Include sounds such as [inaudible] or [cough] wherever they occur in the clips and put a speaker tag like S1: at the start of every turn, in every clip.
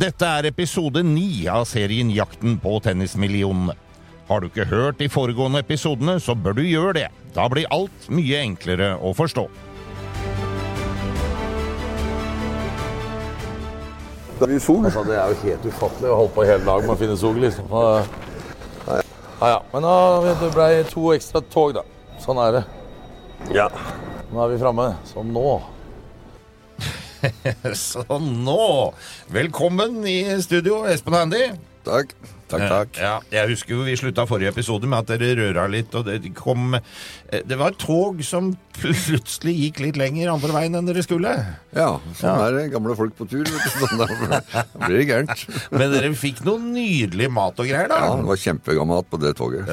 S1: Dette er episode ni av serien Jakten på tennismillionene. Har du ikke hørt de foregående episodene, så bør du gjøre det. Da blir alt mye enklere å forstå.
S2: Det er jo sol.
S3: Altså, det er jo helt ufattelig å holde på hele dagen med å finne sol, liksom. Og, ja, ja. Men da, vet du, det ble to ekstra tog, da. Sånn er det.
S2: Ja.
S3: Nå er vi framme. Som nå.
S1: [laughs] Så nå Velkommen i studio, Espen og Andy.
S2: Takk. Takk, takk.
S1: Ja, jeg husker jo vi slutta forrige episode med at dere røra litt, og det kom eh, Det var et tog som plutselig gikk litt lenger andre veien enn dere skulle.
S2: Ja, sånn er det. Gamle folk på tur. Vet du. Sånn er det. Da blir det gærent.
S1: Men dere fikk noe nydelig mat og greier, da.
S2: Ja, det var kjempegammelt på det toget.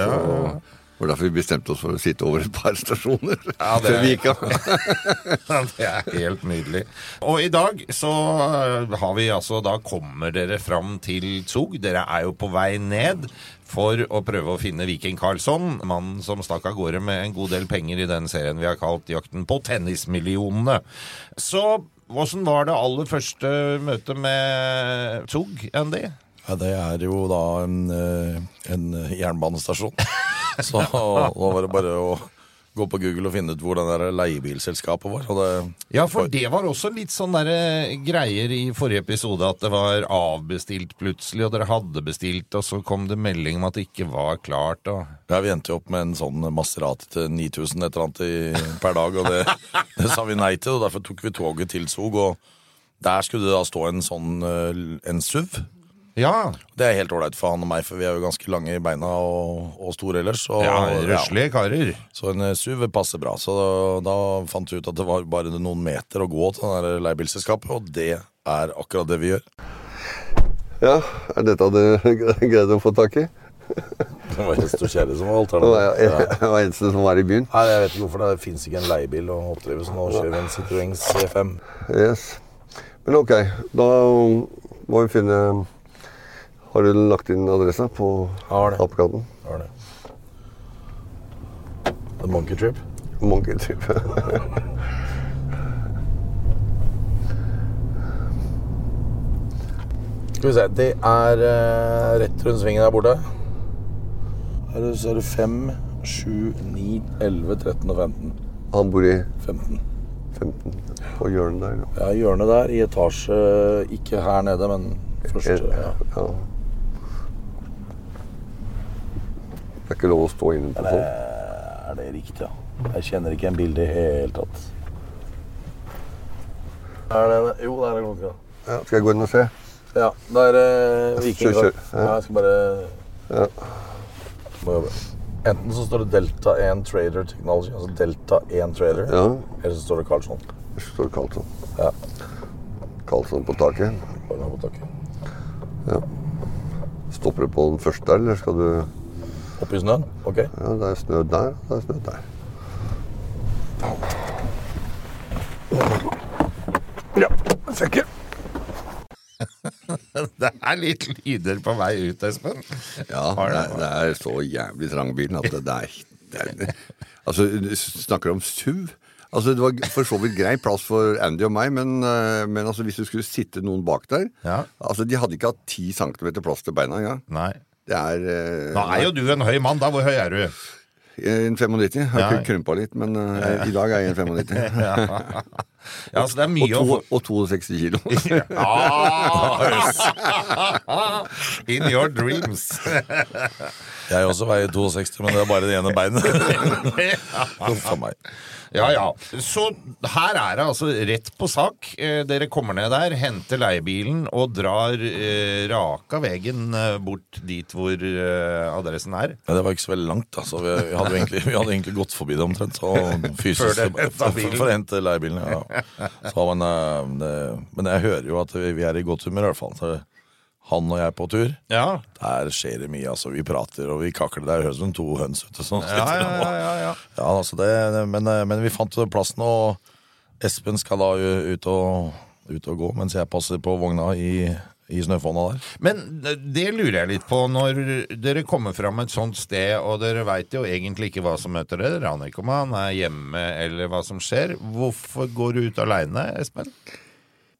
S2: Så det var derfor vi bestemte oss for å sitte over et par
S3: [laughs]
S2: stasjoner
S1: Ja, det-
S2: før vi gikk av.
S1: [laughs] Ja, Det er helt nydelig. Og i dag så eh, har vi altså Da kommer dere fram til Zug. Dere er jo på vei ned for å prøve å finne Viking Karlsson, mannen som stakk av gårde med en god del penger i den serien vi har kalt Jakten på tennismillionene. Så åssen var det aller første møtet med Zug, Andy?
S4: Ja, det er jo da en, eh, en jernbanestasjon. Så nå var det bare å gå på Google og finne ut hvor den der leiebilselskapet var. Og det,
S1: Ja, for det var også litt sånn der eh, greier i forrige episode at det var avbestilt plutselig, og dere hadde bestilt, og så kom det melding om at det ikke var klart, og
S4: ja, vi endte jo opp med en sånn Maserati til 9000 et eller annet i, per dag, og det, det sa vi nei til. Og derfor tok vi toget til Zog, og der skulle det da stå en sånn eh, en SUV.
S1: Ja,
S4: Det er helt ålreit for han og meg, for vi er jo ganske lange i beina og, og store ellers. Og,
S1: røslige karer.
S4: Så en eh, SUV passer bra. Så da, da fant vi ut at det var bare noen meter å gå til det der leiebilselskapet, og det er akkurat det vi gjør.
S2: Ja, er dette det [laughs] greide å få tak i?
S4: Det var hest og kjerre som var
S2: Det var jeg
S4: alternativet.
S2: jeg var eneste som var i byen.
S4: Nei, jeg vet ikke hvorfor. Det fins ikke en leiebil å oppdrive, så nå kjører vi en Citroën C5.
S2: Yes. Men ok, da må vi finne Har du lagt inn adressa på
S4: Har det.
S2: Apekatten?
S4: Det var det. The Monkey Trip.
S2: Monkey trip.
S4: Skal vi se. Det er eh, rett rundt svingen der borte. Her er det- så er det 5, 7, 9, 11, 13 og 15.
S2: Han bor i
S4: 15.
S2: 15, på hjørnet der. ja.
S4: Ja, hjørnet der i etasje Ikke her nede, men første ja.
S2: Ja. Det er ikke lov å stå inne på sånn.
S4: Er det riktig, ja? Jeg kjenner ikke en bilde i hele tatt. Er det Jo, der er klokka.
S2: Ja, skal jeg gå inn og se?
S4: Ja, der er Viking.
S2: Kjør, kjør.
S4: Ja, jeg skal bare
S2: Ja.
S4: Må jobbe. Enten så står det Delta 1 Trader Technology, altså Delta 1 Trader,
S2: Ja,
S4: eller så står det Karlsson.
S2: det står Karlsson.
S4: Ja.
S2: Karlsson på taket.
S4: Bare nå på taket.
S2: Stopper du på den første der, eller skal du
S4: Oppi snøen? Ok.
S2: Ja, det er snø der, og det er snø der. Ja, sekke.
S1: [laughs] Det er litt lyder på vei ut, Espen.
S2: Ja,
S1: Har
S2: det
S1: det.
S2: er, det er så jævlig trang bilen at det, det er, det er Altså, du snakker om SUV. Altså, Det var for så vidt grei plass for Andy og meg, men, eh, men altså, hvis du skulle sitte noen bak der
S1: Ja.
S2: Altså, De hadde ikke hatt ti centimeter plass til beina engang.
S1: Nei.
S2: Det er eh,
S1: Nå er jo du en høy mann, da. Hvor høy er du?
S2: En 95. Jeg har
S1: Ja.
S2: ikke krympa litt, men eh, i dag er jeg en
S1: [laughs]
S2: 95.
S1: Ja, så det er
S2: Og,
S1: mye å
S2: to,
S1: få
S2: og
S1: [laughs]
S2: 62 kilo.
S1: Ah! [laughs] In your dreams. [laughs]
S4: Jeg også veier 62, men det er bare det ene [laughs] beinet. Huff a meg.
S1: Ja, ja. Så her er det altså rett på sak. Eh, Dere kommer ned der, henter leiebilen og drar eh, raka veien eh, bort dit hvor eh, adressen er.
S4: Men det var ikke så veldig langt, da. Så vi, vi, hadde jo egentlig, vi hadde egentlig gått forbi det omtrent. Så
S1: Før
S4: fysisk,
S1: dere hentet
S4: for,
S1: bilen.
S4: for å hente leiebilen. Ja. Så, men, eh, det, men jeg hører jo at vi, vi er i godt humør, i hvert fall. Så han og jeg på tur.
S1: Ja.
S4: Der skjer det mye, altså. Vi prater og vi kakler. Det høres ut som to høns. Vet du, som
S1: Ja,
S4: sitter
S1: ja,
S4: og-
S1: ja, ja, ja.
S4: ja, altså det, men, men vi fant jo plassen, og Espen skal da jo ut og, ut og gå mens jeg passer på vogna i, i snøfonna der.
S1: Men eh, det lurer jeg litt på. Når dere kommer fram et sånt sted, og dere veit jo egentlig ikke hva som møter dere, dere aner ikke om han er hjemme eller hva som skjer, hvorfor går du ut aleine, Espen?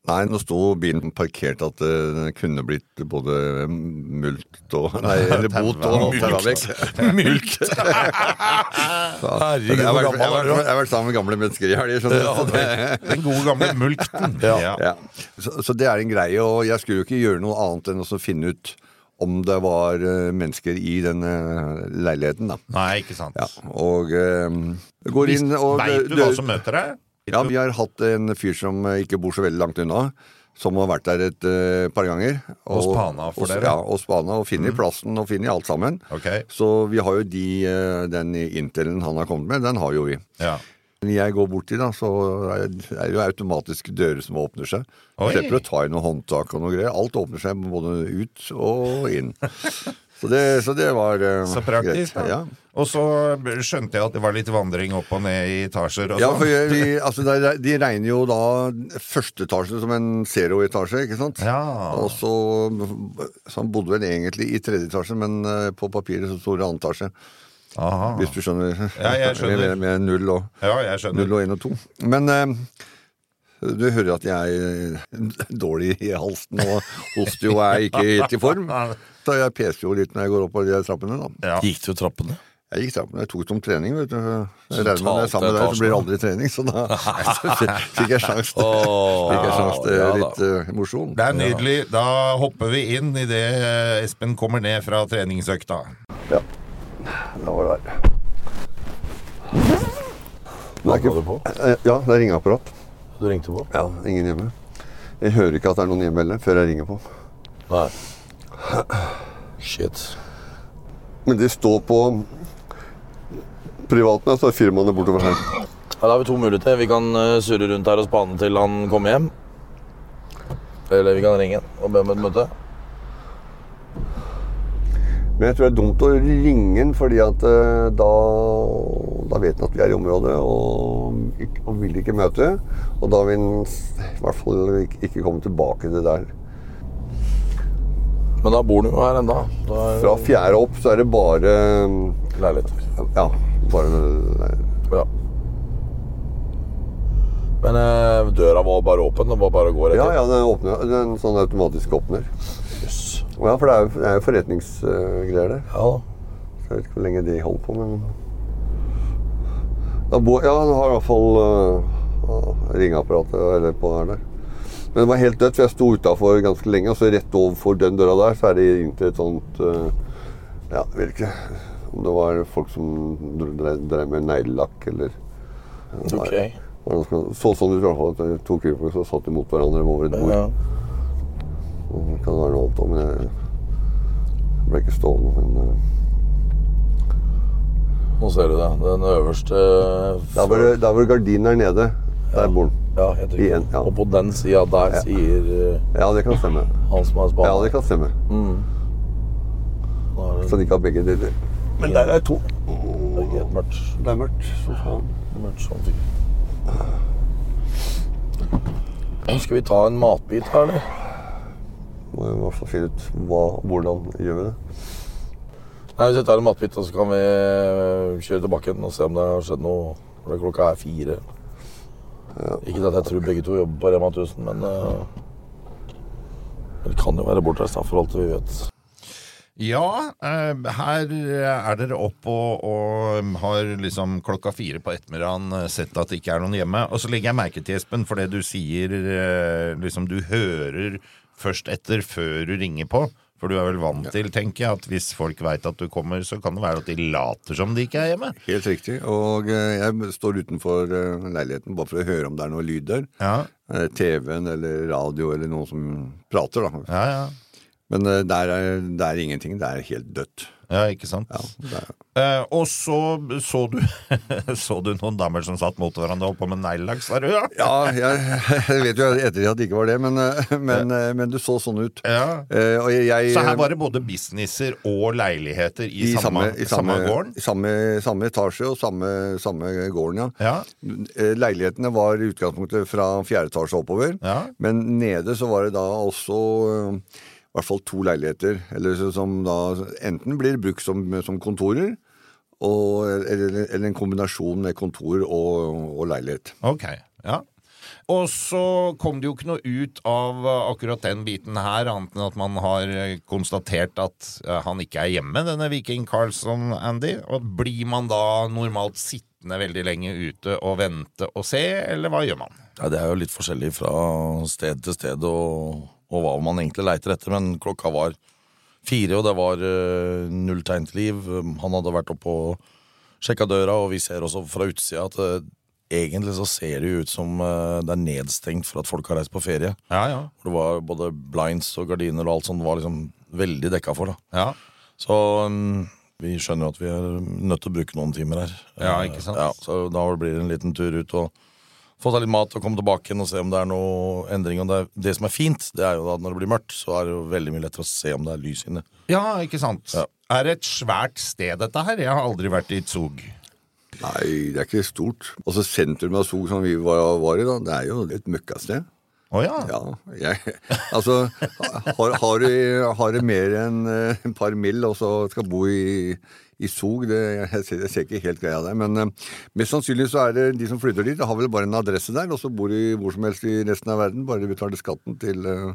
S2: Nei, nå sto bilen parkert at det kunne blitt både mult og Nei, eller bot og
S1: Mult.
S2: terravek.
S4: Mylk!
S2: [laughs] Jeg
S4: Herregud,
S2: har
S4: hvor
S2: vært- jeg
S4: gammel
S2: har
S4: er du?
S2: vært- jeg har vært sammen med gamle mennesker i helger. Sånn, så det-
S1: Altså, Den gode gamle mulkten.
S4: Ja.
S2: ja. så, så det er en greie, og jeg skulle jo ikke gjøre noe annet enn å så finne ut om det var eh, mennesker i den eh, leiligheten, da.
S1: Nei, ikke sant.
S2: Ja, og eh, går inn og
S1: Veit du hva som møter deg?
S2: Ja, vi har hatt en fyr som eh, ikke bor så veldig langt unna, som har vært der et eh, par ganger.
S1: Og spana for
S2: og,
S1: dere. Mm.
S2: Ja, og spana, og finner plassen og finner alt sammen.
S1: Ok.
S2: Så vi har jo de, eh, den intelen han har kommet med, den har jo vi.
S1: Ja.
S2: Når jeg går bort til, da, så er det jo automatisk dører som åpner seg.
S1: Oi.
S2: Slipper å ta i noe håndtak og noe greier. Alt åpner seg både ut og
S1: [laughs]
S2: inn. Så det, så det var eh,
S1: Så praktisk,
S2: greit.
S1: da.
S2: Ja.
S1: Og så skjønte jeg at det var litt vandring opp og ned i etasjer og
S2: Ja, for
S1: sånn.
S2: jeg- vi, altså de, de regner jo da første etasje som en zero-etasje, ikke sant?
S1: Ja.
S2: Og så, så han bodde vel egentlig i tredje etasje, men eh, på papiret så står det andre etasje.
S1: Aha.
S2: Hvis du skjønner.
S1: Ah. Ja, jeg skjønner.
S2: Med, med null og,
S1: Ja, jeg skjønner.
S2: null og en og to. Men eh, du hører at jeg er dårlig i halsen og hoster jo og er ikke helt i
S1: [laughs]
S2: form. Så jeg peser jo litt når jeg går opp av de trappene, da.
S1: Ja.
S4: Gikk du trappene?
S2: Jeg gikk sammen, jeg tok det om trening, vet du. Jeg regner med
S4: talte
S2: når jeg er sammen med deg, så
S4: etasjen.
S2: blir det aldri trening, så da [laughs] så fikk jeg sjans til,
S4: Åh,
S2: fikk jeg sjans til
S4: ja da.
S2: litt eh, mosjon.
S1: Det er nydelig. Da hopper vi inn idet Espen kommer ned fra treningsøkta.
S2: Ja, da var det der. Det er
S3: Hva
S2: ikke-
S3: går det på?
S2: Eh, Ja, det er ringeapparat.
S3: Du ringte på?
S2: Ja, ingen hjemme. Jeg hører ikke at det er noen hjemme heller, før jeg ringer på.
S3: Nei. Shit.
S2: Men de står på privaten, altså firmaene bortover her.
S4: Ja, da har vi to muligheter. Vi kan eh, surre rundt her og spane til han kommer hjem. Eller vi kan ringe og be om et møte.
S2: Men jeg tror det er dumt å ringe den, fordi at eh, da, da vet den at vi er i området og, ikk- og vil ikke møte. Og da vil den s- i hvert fall ikke, ikke komme tilbake til det der.
S4: Men da bor han jo her ennå. Da er
S2: Fra fjerde opp så er det bare mm,
S4: det leiligheter.
S2: Ja, bare nei.
S4: Ja. Men eh, døra var bare åpen. Det var bare å gå rett
S2: Ja,
S4: inn.
S2: ja, den åpner. Den sånn automatisk åpner.
S4: Jøss.
S2: Ja, for det er jo, det er jo forretningsgreier der.
S4: Ja da.
S2: Så jeg vet ikke hvor lenge de holder på, men da bo, Ja, han har i hvert fall øh, ringeapparatet eller på her der. Men det var helt dødt, for jeg sto utafor ganske lenge, og så rett overfor den døra der, så er det inn til et sånt øh, Ja, jeg vet ikke om det var folk som dre- drev, drev med neglelakk eller
S4: Ok.
S2: hva det skal- Så sånn ut i hvert fall. at det var To kuber som satt imot hverandre over et bord.
S4: Ja.
S2: Og Det kan være noe annet òg, men jeg jeg ble ikke stående. Men øh,
S4: Nå ser du det. Den øverste eh,
S2: der var, det- der var gardinen her nede. Der bor den.
S4: Ja, helt riktig.
S2: igjen, ja.
S4: Og på den sida der sier eh,
S2: Ja, det kan stemme.
S4: han som er
S2: Ja, det
S4: spaner.
S2: kan stemme. Så de ikke har begge deler.
S4: Men der er to. Det er helt mørkt.
S2: Det er mørkt. Så faen.
S4: mørkt som fy. Eh, Skal vi ta en matbit her, eller?
S2: Må jo i hvert fall finne ut hva, hvordan gjør vi det.
S4: Nei, Hvis vi tar en matbit, da, så kan vi eh, kjøre tilbake igjen og se om det har skjedd noe. For det klokka er fire. Ikke at jeg tror begge to jobber på Rema 1000, men eh, Det kan jo være bortreist, da, for alt vi vet.
S1: Ja, eh, her er dere opp og, og har liksom klokka fire på ettermiddagen eh, sett at det ikke er noen hjemme. Og så legger jeg merke til, Espen, for det du sier eh, liksom du hører først etter før du ringer på. For du er vel vant til, tenker jeg, at hvis folk veit at du kommer, så kan det være at de later som de ikke er hjemme.
S2: Helt riktig. Og eh, jeg står utenfor eh, leiligheten bare for å høre om det er noe lyd der.
S1: Ja,
S2: Eh, TV-en eller radio eller noen som prater, da.
S1: ja, ja.
S2: Men eh, der er, det er ingenting. Det er helt dødt.
S1: Ja, ikke sant?
S2: Ja, det er,
S1: Eh, og så så du, [laughs] så du noen damer som satt mot hverandre og holdt på med neglelakk, sa du? Ja.
S2: ja jeg, [laughs] jeg vet jo etter at det ikke var det, men, eh, men, eh, men det så sånn ut.
S1: Ja.
S2: Eh, og jeg, jeg,
S1: Så her var det både businesser og leiligheter i, samme,
S2: i
S1: samme,
S2: samme-
S1: gården?
S2: i Samme, samme etasje og samme, samme gården, ja.
S1: Ja.
S2: Eh, Leilighetene var i utgangspunktet fra fjerde etasje oppover,
S1: Ja.
S2: men nede så var det da også eh, i hvert fall to leiligheter, eller så- som da enten blir brukt som, som kontorer, og, eller, eller en kombinasjon med kontor og, og leilighet.
S1: Ok, ja. Og så kom det jo ikke noe ut av eh, akkurat den biten her, annet enn at man har eh, konstatert at eh, han ikke er hjemme, denne Viking Carlson, Andy. Og blir man da normalt sittende veldig lenge ute og vente og se, eller hva gjør man?
S4: Ja, det er jo litt forskjellig fra sted til sted og, og hva man egentlig leiter etter, men klokka var fire, og det var eh, null tegn til liv. Han hadde vært oppe og sjekka døra, og vi ser også fra utsida at eh, egentlig så ser det jo ut som eh, det er nedstengt for at folk har reist på ferie.
S1: Ja, ja.
S4: Hvor det var både blinds og gardiner og alt sånt var liksom veldig dekka for, da.
S1: Ja,
S4: Så mm, vi skjønner jo at vi er nødt til å bruke noen timer her. Eh,
S1: Ja, ikke sant?
S4: Ja, så da blir det en liten tur ut og få seg litt mat og komme tilbake igjen og se om det er noe endring. Og det, er- det som er fint, det er jo at når det blir mørkt, så er det jo veldig mye lettere å se om det er lys inne.
S1: ja ikke sant?
S4: Ja.
S1: Er det et svært sted dette her? Jeg har aldri vært i Tsog.
S2: Nei, det er ikke stort. Altså sentrum av Skog som vi var, var i, da, det er jo et møkkasted.
S1: Å ja.
S2: Ja, jeg, altså, har, har, du, har du mer enn eh, et par mill. og så skal bo i, i Sog, det, jeg, ser, jeg ser ikke helt greia der. Men eh, mest sannsynlig så er det de som flytter dit, har vel bare en adresse der, og så bor de hvor som helst i resten av verden, bare de betaler skatten til eh,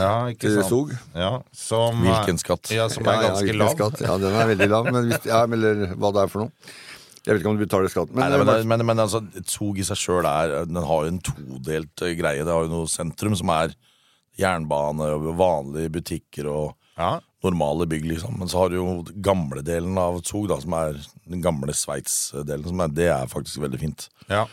S1: ja ikke
S2: Til
S1: sant.
S2: Tsog?
S1: Ja, som, eh,
S4: Hvilken skatt?
S1: Ja, sånn- som er
S2: ja,
S1: ganske
S2: ja,
S1: lav.
S2: Skatt. Ja, den er veldig lav, men hvis, ja, eller hva det er for noe. Jeg vet ikke om du betaler skatt, men,
S4: Nei, nei, men,
S2: eh,
S4: det- men, men altså, Zug i seg sjøl har jo en todelt eh, greie. Det har jo noe sentrum som er jernbane, og vanlige butikker og
S1: Ja.
S4: normale bygg, liksom. Men så har du jo gamledelen av Zug, da, som er den gamle Sveits-delen. som er- Det er faktisk veldig fint.
S1: Ja.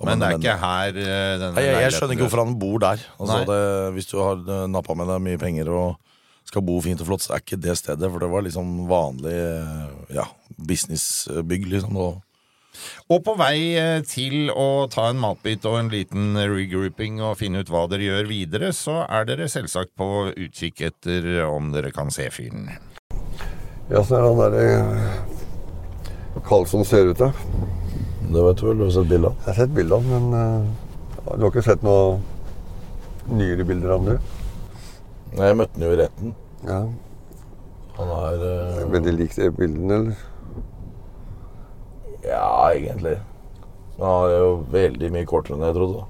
S4: Så,
S1: Men det er
S4: men-
S1: ikke her eh, denne
S4: Nei, jeg, jeg skjønner
S1: leiligheten-
S4: ikke hvorfor han bor der. Altså,
S1: Nei.
S4: det, hvis du har eh, nappa med deg mye penger og skal bo fint og flott, så er ikke det stedet. For det var liksom vanlig eh, ja, businessbygg, liksom. Og,
S1: Og på vei eh, til å ta en matbit og en liten regrouping og finne ut hva dere gjør videre, så er dere selvsagt på utkikk etter om dere kan se fyren.
S2: ja, så er han derre Karlsson ser ut, da.
S4: det vet du vel, du har sett bilde av.
S2: Jeg har sett bilder av den, men eh, du har ikke sett noe nyere bilder av den, du?
S4: Jeg møtte han jo i retten.
S2: Ja.
S4: Han er eh,
S2: Veldig lik de bildene, eller?
S4: Ja, egentlig. Han er jo veldig mye kortere enn jeg trodde.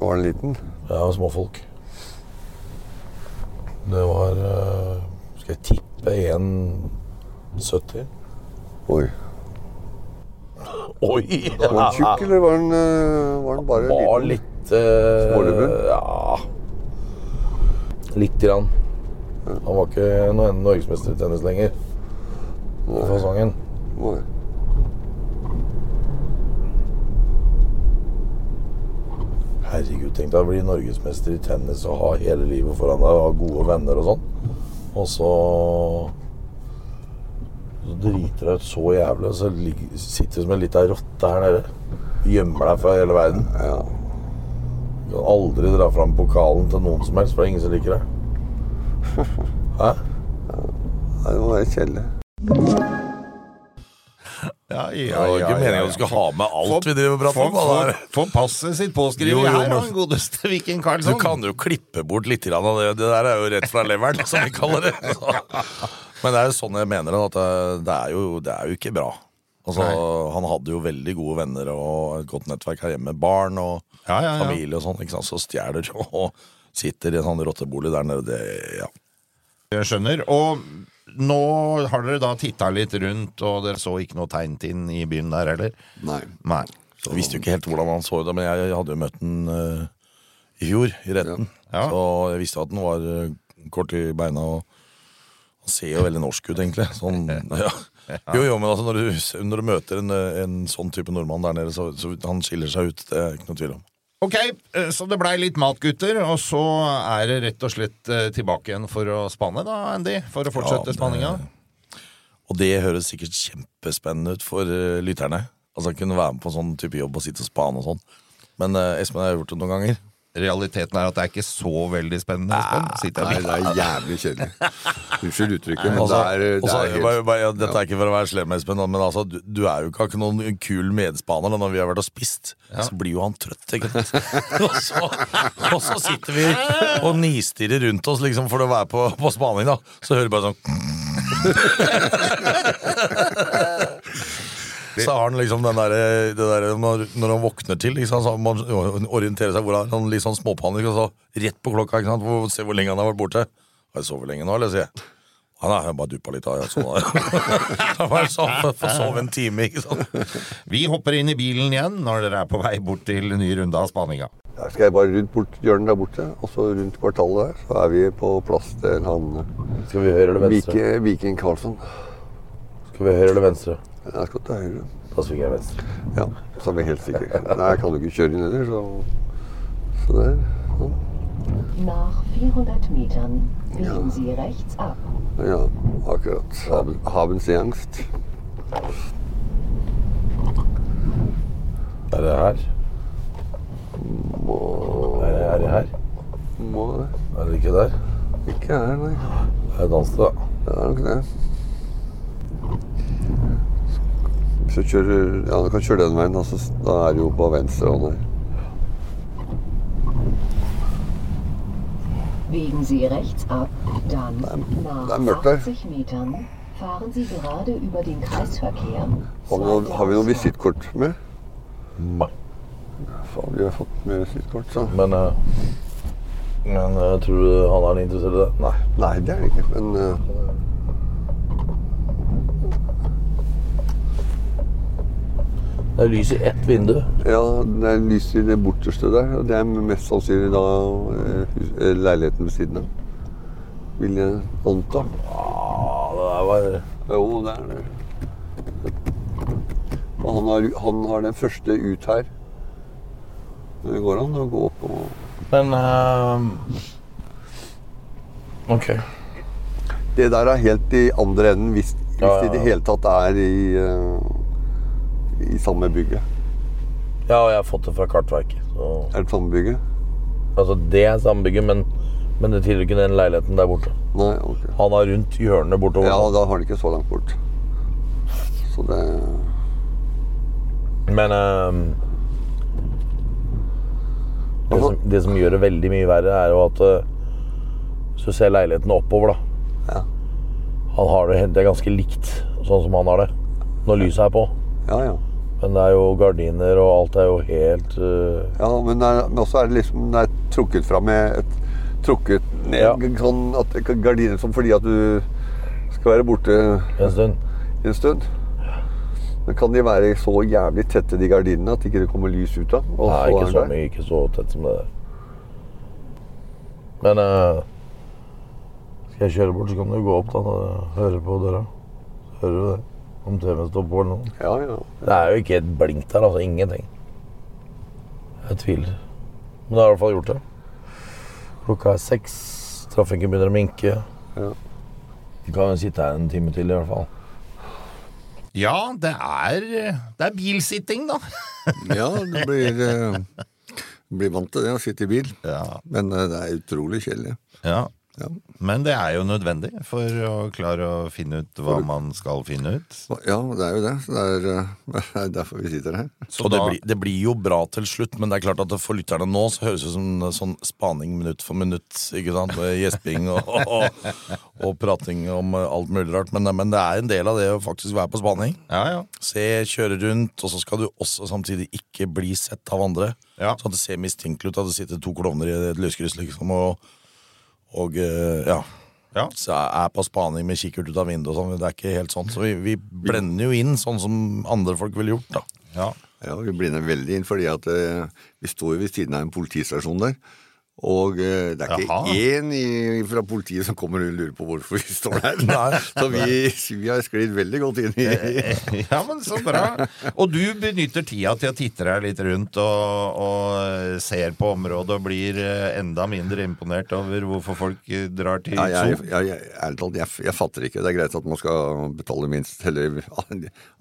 S2: Var den liten?
S4: Ja, småfolk. Det var eh, Skal jeg tippe 1,70?
S2: Oi. Var
S4: Oi!
S2: den tjukk, eller var den, eh, var den bare
S4: var
S2: liten?
S4: litt eh,
S2: Smålubben?
S4: Ja. Litt grann. Han var ikke noe norgesmester i tennis lenger. I fasongen.
S2: Oi.
S4: Herregud, tenk deg å bli norgesmester i tennis og ha hele livet foran deg og ha gode venner og sånn. Og så Så driter deg ut så jævlig, og så ligger, sitter du som en lita rotte her nede. Gjemmer deg fra hele verden.
S2: Ja.
S4: Du kan aldri dra fram pokalen til noen som helst, for det er ingen som liker deg.
S2: [laughs]
S4: Hæ?
S2: Nei, det må være kjedelig.
S1: Ja, ja,
S4: Det var ikke meningen at du skulle ha med alt vi driver og prater om. da. Det er-
S1: Få passet sitt påskrevet
S4: Jo, jo,
S1: her,
S4: men-
S1: han godeste Viking
S4: Du
S1: Karlsson.
S4: kan jo klippe bort litt grann av det. Det der er jo rett fra leveren, som vi kaller
S1: [laughs]
S4: det. Så. Men det er jo sånn jeg mener det. At det- det, er jo, det er jo ikke bra. Altså, han hadde jo veldig gode venner og et godt nettverk her hjemme. Barn og
S1: Ja, ja, ja.
S4: familie og sånn. ikke sant? Så stjeler du og sitter i en sånn rottebolig der nede. Det, ja.
S1: Jeg skjønner. Og nå har dere da titta litt rundt, og dere så ikke noe tegn til den i byen der heller?
S2: Nei.
S1: Nei.
S4: Jeg visste jo ikke helt hvordan han så ut, men jeg hadde jo møtt han eh, i fjor, i retten.
S1: Ja.
S4: Så jeg visste at han var eh, kort i beina. og Han ser jo veldig norsk ut, egentlig.
S1: [laughs]
S4: Sånn, ja. Jo, jo, men altså, når, du, når du møter en, eh, en sånn type nordmann der nede, så, så han skiller seg ut. Det er ikke noe tvil om.
S1: Ok, eh, så det blei litt mat, gutter, og så er det rett og slett eh, tilbake igjen for å spanne, da, Andy? For å fortsette
S4: Ja, det-
S1: spanninga?
S4: Og det høres sikkert kjempespennende ut for eh, lytterne. Altså Kunne være med på en sånn type jobb og sitte og spane og sånn. Men eh, Espen og jeg har gjort det noen ganger.
S5: Realiteten er at det er ikke så veldig spennende. Espen. Sitter
S2: Nei,
S5: jeg og-
S2: det er jævlig kjedelig. Unnskyld uttrykket, men det
S4: Altså,
S2: er, eh, det
S4: altså,
S2: er
S4: bare,
S2: helt
S4: bare, ja, dette er ikke for å være slem, Espen, men altså, du, du er jo ikke, har ikke noen kul medspaner. og Når vi har vært og spist, så blir jo han trøtt. Ikke? sant? [laughs] og, så, og så sitter vi og nistirrer rundt oss liksom, for å være på, på spaning. Da. Så hører du bare sånn [laughs] Så har han liksom den derre det derre når, når han våkner til, ikke sant, så må han orientere seg hvor er han litt sånn småpanikk, og så rett på klokka, ikke sant, hvor- se hvor lenge han har vært borte. Har jeg sovet lenge nå, eller? sier jeg. Han har bare duppa litt av. Altså. [laughs] Han var sånn for, for å sove en time, ikke sant.
S1: Vi hopper inn i bilen igjen når dere er på vei bort til ny runde av spaninga.
S2: Der skal jeg bare rundt bort hjørnet der borte, og så rundt kvartalet der, så er vi på plass til han
S3: Skal vi høyre eller venstre?
S2: Vike, Viking Karlsson.
S3: Skal vi høyre eller venstre?
S2: Jeg skal til høyre.
S3: Da svinger jeg venstre.
S2: Ja, så er vi helt sikre. Nei, jeg kan jo ikke kjøre inn heller, så Så der. Sånn.
S6: Nach 400 Metern biegen Sie rechts ab.
S2: Ja, akkurat. Haben, haben Sie angst?
S3: Er det her?
S2: Må,
S3: Er det, er det her?
S2: må
S3: Er det ikke der?
S2: Ikke her, nei.
S3: Det er danset, da.
S2: Det er nok det. Hvis du kjører Ja, du kan kjøre den veien, da, så, da er du jo på venstre hånd her.
S6: Biegen Sie rechts ab, dann
S2: da
S6: nach
S2: mörder.
S6: 80 Metern fahren Sie gerade über den Kreisverkehr.
S2: Har vi noe, har vi noe
S6: Zweite Ausfahrt.
S2: visittkort med?
S3: Nei.
S2: Faen, vi har fått med visittkort, så
S3: Men, eh, men eh, tror du han er interessert i det? Nei.
S2: Nei, det er det ikke, men eh,
S3: Det er lys i ett vindu.
S2: Ja, det er lys i det borteste der. Og det er mest sannsynlig da eh, hus- eh, leiligheten ved siden av. Vil jeg anta.
S3: Ja, det der var
S2: Jo, det er det. Og han har, han har den første ut her. Det går an å gå opp og
S3: Men eh, Ok.
S2: Det der er helt i andre enden, hvis, hvis
S3: Ja, ja,
S2: det i det
S3: ja.
S2: hele tatt er i, eh, i samme bygget.
S3: Ja, og jeg har fått det fra Kartverket. Så.
S2: Er det samme bygget?
S3: Altså, det er samme bygget, men, men det tilhører ikke den leiligheten der borte.
S2: Nei, ok.
S3: Han er rundt hjørnet bortover.
S2: Ja, da har han ikke så langt bort. Så det
S3: Men ehm, det, som, det som gjør det veldig mye verre, er jo at eh, Hvis du ser leiligheten oppover, da.
S2: Ja.
S3: Han har det, det er ganske likt sånn som han har det når lyset er på.
S2: Ja, ja.
S3: Men det er jo gardiner, og alt er jo helt eh,
S2: ja men, det er- men også er det liksom det er trukket fra med et Trukket ned
S3: Ja.
S2: g- sånn at det kan- gardiner som fordi at du skal være borte
S3: en stund.
S2: en stund. Men kan de være så jævlig tette, de gardinene, at ikke det kommer lys ut av? Og
S3: Nei,
S2: så
S3: ikke
S2: er
S3: så
S2: det-
S3: mye, ikke så tett som det der. Men eh, skal jeg kjøre bort, så kan du gå opp da, og høre på døra. Så Hører du det? Om TV-en står på eller noe.
S2: Ja, ja.
S3: Det er jo ikke et blink der, altså. Ingenting. Jeg tviler. Men jeg har i hvert fall gjort det. Klokka er seks, trafikken begynner å minke.
S2: Ja.
S3: Vi kan jo sitte her en time til i hvert fall.
S1: Ja, det er, eh, det er bilsitting, da.
S7: Ja, du blir, eh, blir vant til det å sitte i bil. Men eh, det er utrolig kjedelig.
S1: Ja.
S7: Ja.
S1: Men det er jo nødvendig for å klare å finne ut hva man skal finne ut.
S7: Ja, det er jo det. Så det er, eh, [laughs] det er derfor vi sitter her.
S1: Så
S4: Og det
S1: da-
S4: blir, det blir jo bra til slutt, men det er klart at det for lytterne nå så høres det ut som sånn spaning minutt for minutt. ikke sant? Med Gjesping og, [laughs] og, og prating om eh, alt mulig rart. Men, men det er en del av det å faktisk være på spaning.
S1: Ja, ja.
S4: Se, kjøre rundt, og så skal du også samtidig ikke bli sett av andre.
S1: Ja.
S4: Så at det ser mistenkelig ut at det sitter to klovner i et lyskryss, liksom, og, og eh, ja.
S1: Ja.
S4: Så jeg er på spaning med kikkert ut av vinduet og sånn. Det er ikke helt sånn. Så vi, vi blender jo inn sånn som andre folk ville gjort, da.
S1: ja. [laughs]
S7: Ja, Vi blender veldig inn fordi at eh, vi står jo ved siden av en politistasjon der.
S2: Og eh, det er ikke
S1: Jaha.
S2: én i, fra politiet som kommer og lurer på hvorfor vi står der. Så vi, vi har sklidd veldig godt inn i
S1: Ja, men så bra. Og du benytter tida til å titte deg litt rundt og, og ser på området og blir eh, enda mindre imponert over hvorfor folk eh, drar til
S2: ja, jeg,
S1: Zoo.
S2: jeg, jeg, Ærlig talt, jeg, jeg fatter ikke. Det er greit at man skal betale minst Eller [laughs]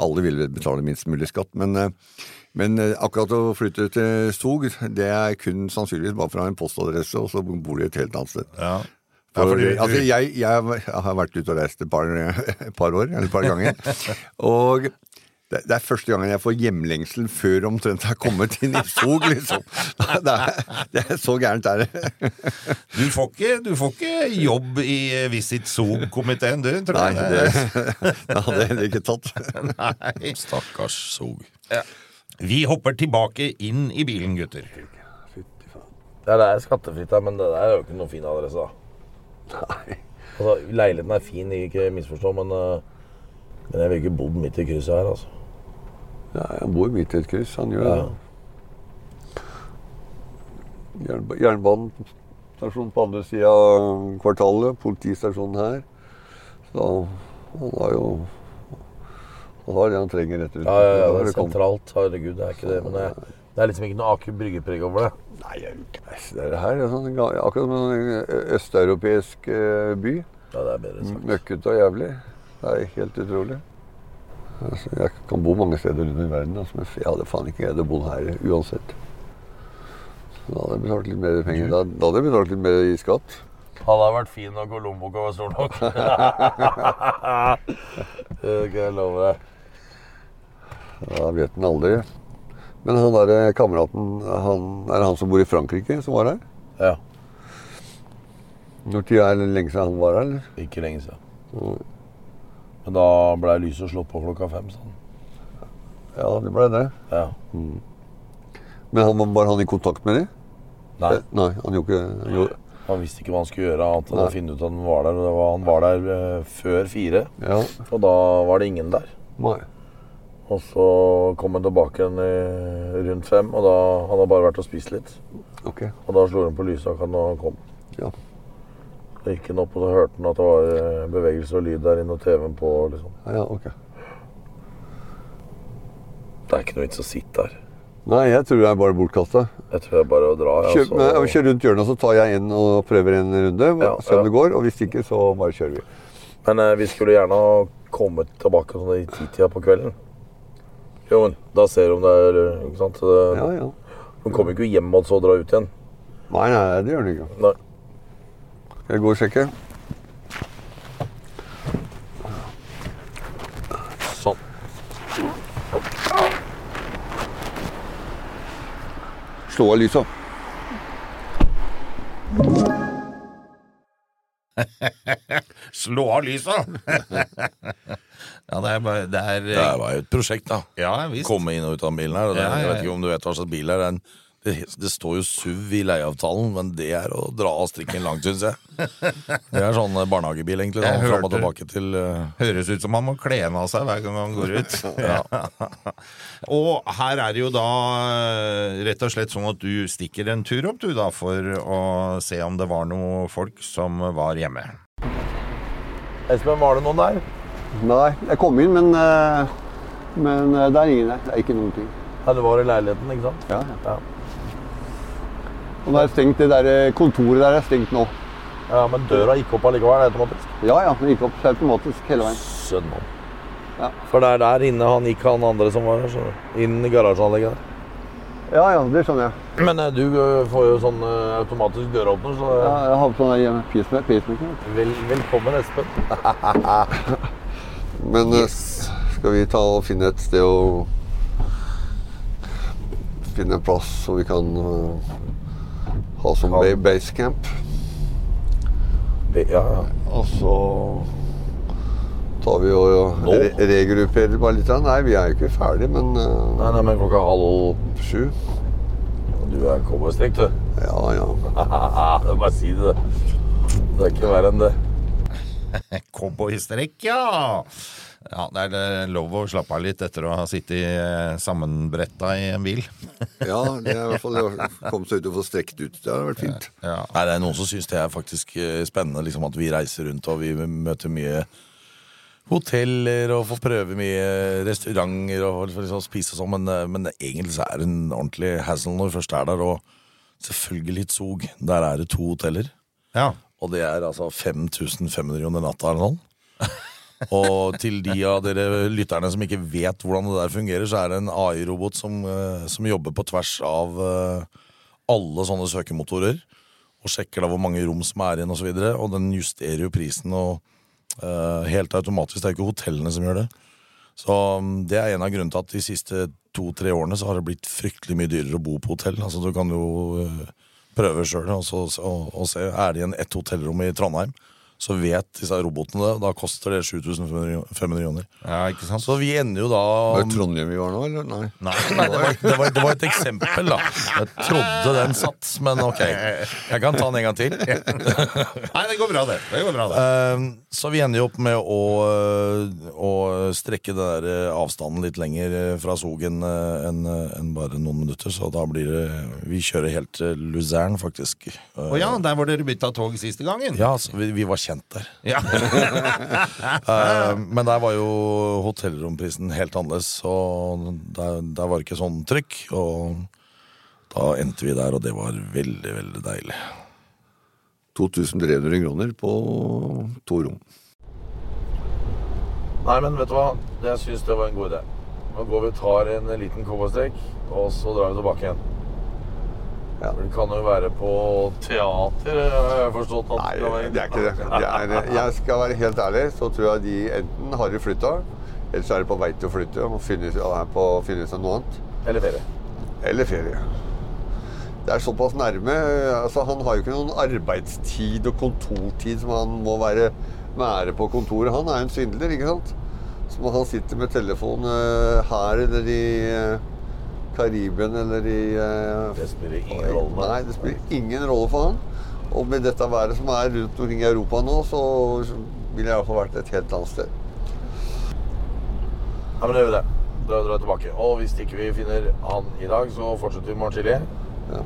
S2: alle vil vel betale minst mulig skatt, men, eh, men eh, akkurat å flytte til Stog, det er kun sannsynligvis bare fra en postadresse, og så bor de et helt annet sted.
S1: Ja. Ja,
S2: For,
S1: for du-
S2: altså,
S1: du-
S2: jeg, jeg, har vært ute og reist et par, [laughs] et par år, eller et par [laughs] ganger. Og det, det er første gangen jeg får hjemlengsel før omtrent jeg har kommet inn i Skog, liksom. [laughs] Det er, det er så gærent er det.
S1: Du får ikke, du får ikke jobb i eh, Visit Zoo-komiteen, du, tror
S2: Nei,
S1: jeg.
S2: det, [laughs] det hadde jeg heller ikke tatt.
S1: Nei.
S4: Stakkars Sog.
S8: Vi hopper tilbake inn i bilen, gutter.
S3: Det er der skattefritt, da, men det der er jo ikke noen fin adresse, da.
S2: Nei.
S3: Altså, leiligheten er fin, ikke misforstå, men, eh, men jeg vil ikke bodd midt i krysset her, altså.
S2: Ja, han bor midt i et kryss, han gjør
S3: Ja.
S2: det. Jernba jernbanestasjon på andre sida av kvartalet, politistasjonen her. Så han har jo Han har det han trenger rett rundt.
S3: Ja, ja, ja,
S2: Da
S3: det er
S2: det kommet-
S3: sentralt, herregud, det er ikke det, men det, det er liksom ikke noe Aker Brygge-preg over det.
S2: Nei, jeg vil ikke reise der. Det her er sånn, ga- akkurat som en ø- østeuropeisk eh, by.
S3: Ja, det er bedre sagt.
S2: Møkkete og jævlig. Det er helt utrolig. Altså, jeg kan bo mange steder rundt i verden, altså, men jeg hadde faen ikke greid å bo her uansett. Så da hadde jeg betalt litt mer penger. Da, da hadde jeg betalt litt mer i skatt.
S3: Han har vært fin nok, og lommeboka var stor [laughs] nok. det kan jeg love deg.
S2: Da vet en aldri. Men han der eh, kameraten, han, er det han som bor i Frankrike, som var her?
S3: Ja,
S2: Når tid er det lenge siden han var her, eller?
S3: ikke lenge siden.
S2: Mm.
S3: Men da ble lyset slått på klokka fem, sa han.
S2: Ja, det ble det.
S3: Ja.
S2: Men han, var han i kontakt med dem? Eh,
S3: Nei,
S2: Nei, han gjorde ikke han gjorde,
S3: han visste ikke hva han skulle gjøre, annet enn å
S2: Nei.
S3: finne ut at han var der. Og det var, han var der eh, før fire,
S2: Ja.
S3: og da var det ingen der.
S2: Nei.
S3: Og så kom han tilbake igjen eh, rundt fem, og da han hadde bare vært og spist litt.
S2: Ok.
S3: Og da slo han på lysstaken og han kom.
S2: Ja.
S3: Da gikk han opp, og så hørte han at det var eh, bevegelse og lyd der inne, og TV-en på. liksom.
S2: Ja, ok.
S3: Det er ikke noe vits å sitte der.
S2: Nei, jeg tror jeg er bare bortkasta.
S3: Jeg tror jeg altså. bare å dra.
S2: Kjør, men, kjør rundt hjørnet, så tar jeg en og prøver en runde.
S3: Ja,
S2: se om
S3: ja.
S2: det går, og hvis ikke, så bare kjører vi.
S3: Men eh, vi skulle gjerne ha kommet tilbake sånn i titida på kvelden. Jo, men da ser du om det er eh, ikke sant? Det-
S2: Ja, ja.
S3: Hun kommer ikke hjem og så dra ut igjen.
S2: Nei, nei, det gjør det ikke.
S3: Nei.
S2: Skal jeg gå og sjekke?
S3: Sånn.
S2: Slå av lysa.
S8: Slå av lysa!
S1: [laughs]
S8: ja, det er bare Det er,
S4: Det
S1: eh,
S4: var jo et prosjekt, da.
S8: Ja, visst.
S4: Komme inn og ut av den bilen her. Og det,
S8: Ja, ja,
S4: Jeg vet
S8: ja.
S4: ikke om du vet hva slags bil det er. Det er en- Det, det står jo SUV i leieavtalen, men det er å dra av strikken langt, syns
S8: [laughs]
S4: jeg. Det er sånn barnehagebil, egentlig.
S1: Jeg
S4: Sånn, fram og
S1: hørte-
S4: tilbake til eh,
S1: Høres ut som han må kle av seg hver gang han går ut. [laughs]
S8: Og her er det jo da eh, rett og slett sånn at du stikker en tur opp, du, da, for å se om det var noen folk som var hjemme.
S3: Espen, var det noen der?
S9: Nei, jeg kom inn, men, eh, men eh, det er ingen der. Det er ikke noen ting.
S3: Eller var i leiligheten, ikke sant?
S9: Ja, ja.
S3: Ja.
S9: Og det er stengt, det der eh, kontoret der er stengt nå.
S3: Ja, men døra gikk opp allikevel automatisk.
S9: Ja, ja, det gikk opp automatisk hele veien.
S3: Sønn mann.
S9: Ja.
S3: For det er der inne han gikk, han andre som var her. skjønner du. Inn i garasjeanlegget der.
S9: Ja, ja, det skjønner jeg.
S3: Men eh, du eh, får jo sånn eh, automatisk døråpner, så
S9: Ja,
S3: eh,
S9: jeg har på sånn der eh, pacemaker. pacemaker.
S3: vel, velkommen, Espen.
S2: Men eh, skal vi ta og finne et sted å Finne en plass som vi kan eh, ha som ba- basecamp.
S3: Vi- Ja, ja.
S2: Og så tar vi og og
S3: Nå?
S2: re regrupperer bare litt. Nei, vi er jo ikke ferdig, men eh,
S3: Nei, nei, men klokka halv
S2: sju.
S3: Du er cowboystrikk, du.
S2: Ja, ja.
S3: Ah, det er bare å si det. Det er ikke verre enn det.
S8: Cowboystrekk, ja!
S1: Ja, det er lov å slappe av litt etter å ha sittet eh, sammenbretta i en bil.
S10: Ja, det er i hvert fall det
S2: [laughs]
S10: å komme seg ut og få strekt ut. Det har vært fint.
S1: Ja.
S4: Nei, det er noen som syns det er faktisk eh, spennende liksom at vi reiser rundt og vi møter mye hoteller og får prøve mye restauranter og får liksom spise og sånn, men, eh, men egentlig så er det en ordentlig hassle når vi først er der, og selvfølgelig et Zug. Der er det to hoteller,
S1: ja.
S4: og det er altså 5500 under natta eller noe sånt. [laughs] og til de av dere lytterne som ikke vet hvordan det der fungerer, så er det en AI-robot som, eh, som jobber på tvers av eh, alle sånne søkemotorer. Og sjekker da hvor mange rom som er igjen, og så videre. Og den justerer jo prisen og eh, helt automatisk. Det er jo ikke hotellene som gjør det. Så mm, det er en av grunnene til at de siste to-tre årene så har det blitt fryktelig mye dyrere å bo på hotell. Altså du kan jo eh, prøve sjøl og, så- og, og se. Er det igjen ett hotellrom i Trondheim, så vet disse robotene det. og Da koster det 7500 kroner.
S1: ja, ikke sant?
S4: Så vi ender jo da
S10: Var det Trondheim vi var nå, eller? Nei.
S1: Nei.
S4: Nei, det var, det, var, det var et eksempel, da. Jeg trodde den satt, men ok. Jeg kan ta den en gang til.
S1: Nei, det går bra, det. det, går bra, det.
S4: Ehm, Så vi ender jo opp med å, eh, å strekke den der eh, avstanden litt lenger eh, fra Sogen eh, enn eh, enn bare noen minutter, så da blir det Vi kjører helt til Luzern, faktisk. Eh,
S1: Å ja, der hvor dere bytta tog siste gangen?
S4: Ja, så vi, vi var kjent der.
S1: Ja.
S4: Eh, Men der var jo hotellromprisen helt annerledes, og der, der var det ikke sånn trykk. Og da endte vi der, og det var veldig, veldig deilig.
S10: 2300 kroner på to rom.
S4: Nei, men vet du hva? Jeg syns det var en god idé. Nå går vi og tar en liten cowboystrekk, og så drar vi tilbake igjen.
S2: Ja.
S4: For Det kan jo være på teater, eh, har jeg forstått. At
S2: Nei, det er ikke det. det er, jeg skal være helt ærlig, så tror jeg de enten har de flytta, eller så er de på vei til å flytte og, finne, og er på å finne seg noe annet.
S4: Eller ferie.
S2: Eller ferie. Det er såpass nærme. Altså, han har jo ikke noen arbeidstid og kontortid som han må være, være på kontoret. Han er jo en svindler, ikke sant? Som han sitter med telefon eh, her eller i eh, Karibien eller i eh,
S4: Det spiller ingen rolle.
S2: Nei, det spiller ingen rolle for han. Og med dette været som er rundt omkring i Europa nå, så ville jeg iallfall vært et helt annet sted.
S4: Nei, men det gjør vi det. Da drar vi tilbake. Og hvis ikke vi finner han i dag, så fortsetter vi i morgen tidlig.
S1: Ja,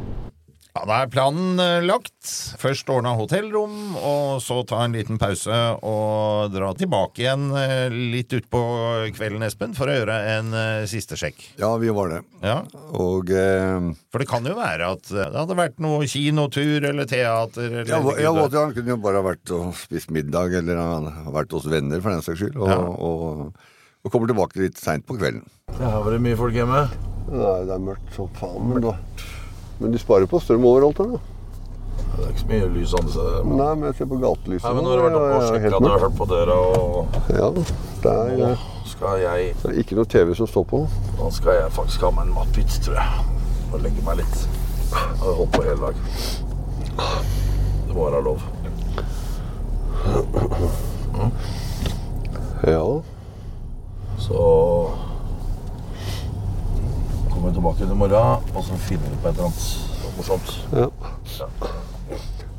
S1: Da er planen eh, lagt. Først ordna hotellrom, og så ta en liten pause og dra tilbake igjen eh, litt utpå kvelden, Espen, for å gjøre en eh, siste sjekk.
S10: Ja, vi var det.
S1: Ja,
S10: Og eh,
S1: For det kan jo være at eh, det hadde vært noe kinotur eller teater eller
S10: ja, hva- ja,
S1: Gud,
S10: Walter, han kunne jo bare ha vært og spist middag, eller han har vært hos venner, for den saks skyld. Og,
S1: Ja.
S10: og, og kommer tilbake litt seint på kvelden.
S4: Her var det mye folk hjemme.
S2: Nei, det er mørkt som faen. Men, da. men de sparer på strøm overalt her, da.
S4: Det er ikke så mye lys andre steder. men-
S2: Nei, men jeg ser på gatelyset
S4: Nei, men nå har du vært oppe og
S2: det er
S4: sjekket
S2: helt
S4: at du har
S2: mørkt.
S4: hørt på døra, og
S2: Ja, det er,
S4: nå skal jeg
S2: det er ikke noe TV som står på.
S4: Da skal jeg faktisk ha meg en matbit, tror jeg. Og legge meg litt. Jeg har holdt på hele dag. Det må være lov.
S2: Ja.
S4: Så kommer vi tilbake til morgen, og så finner vi på et eller annet morsomt.
S2: ja.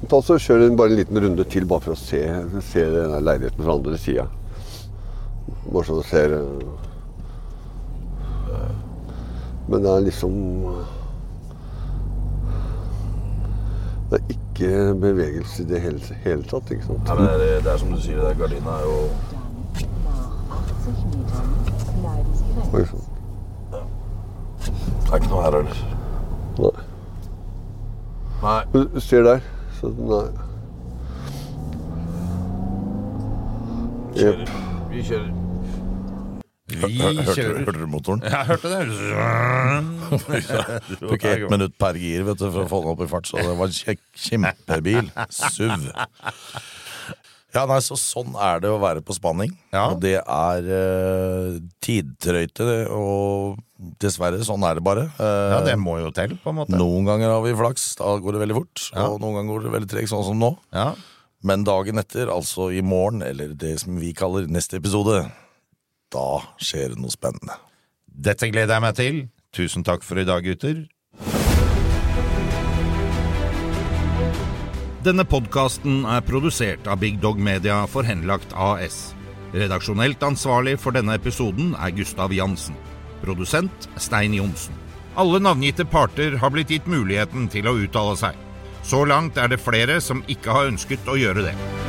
S2: Ta så Kjør en- bare en liten runde til, bare for å se, se den der leiligheten fra andre sida. Bare så du ser eh. Men det er liksom Det er ikke bevegelse i det hele, hele tatt, ikke sant?
S4: Nei, men det, er, det er som du sier, det er gardina er jo
S6: Dann nach 80 Metern bleiben Sie rechts.
S2: Oi, sånn.
S4: Det er ikke noe her heller.
S2: Nei.
S4: Nei.
S2: Men Du ser der. Så nei. Jep.
S4: Kjører. Vi kjører.
S1: Vi
S4: Hørte,
S1: kjører.
S4: hørte du motoren?
S1: Jeg hørte det.
S4: Tok ett minutt per gir vet du, for å få den opp i fart, så det var en kjekk, kjempebil. SUV. Ja, nei, så Sånn er det å være på spanning.
S1: Ja.
S4: Og det er eh, tidtrøyte, det, og dessverre, sånn er det bare. Eh,
S1: Ja, det må jo til, på en måte.
S4: Noen ganger har vi flaks, da går det veldig fort. Og noen ganger går det veldig tregt, sånn som nå.
S1: Ja.
S4: Men dagen etter, altså i morgen, eller det som vi kaller neste episode, da skjer det noe spennende.
S1: Dette gleder jeg meg til. Tusen takk for i dag, gutter. Denne podkasten er produsert av Big Dog Media for Henlagt AS. Redaksjonelt ansvarlig for denne episoden er Gustav Jansen. Produsent er Stein Johnsen. Alle navngitte parter har blitt gitt muligheten til å uttale seg. Så langt er det flere som ikke har ønsket å gjøre det.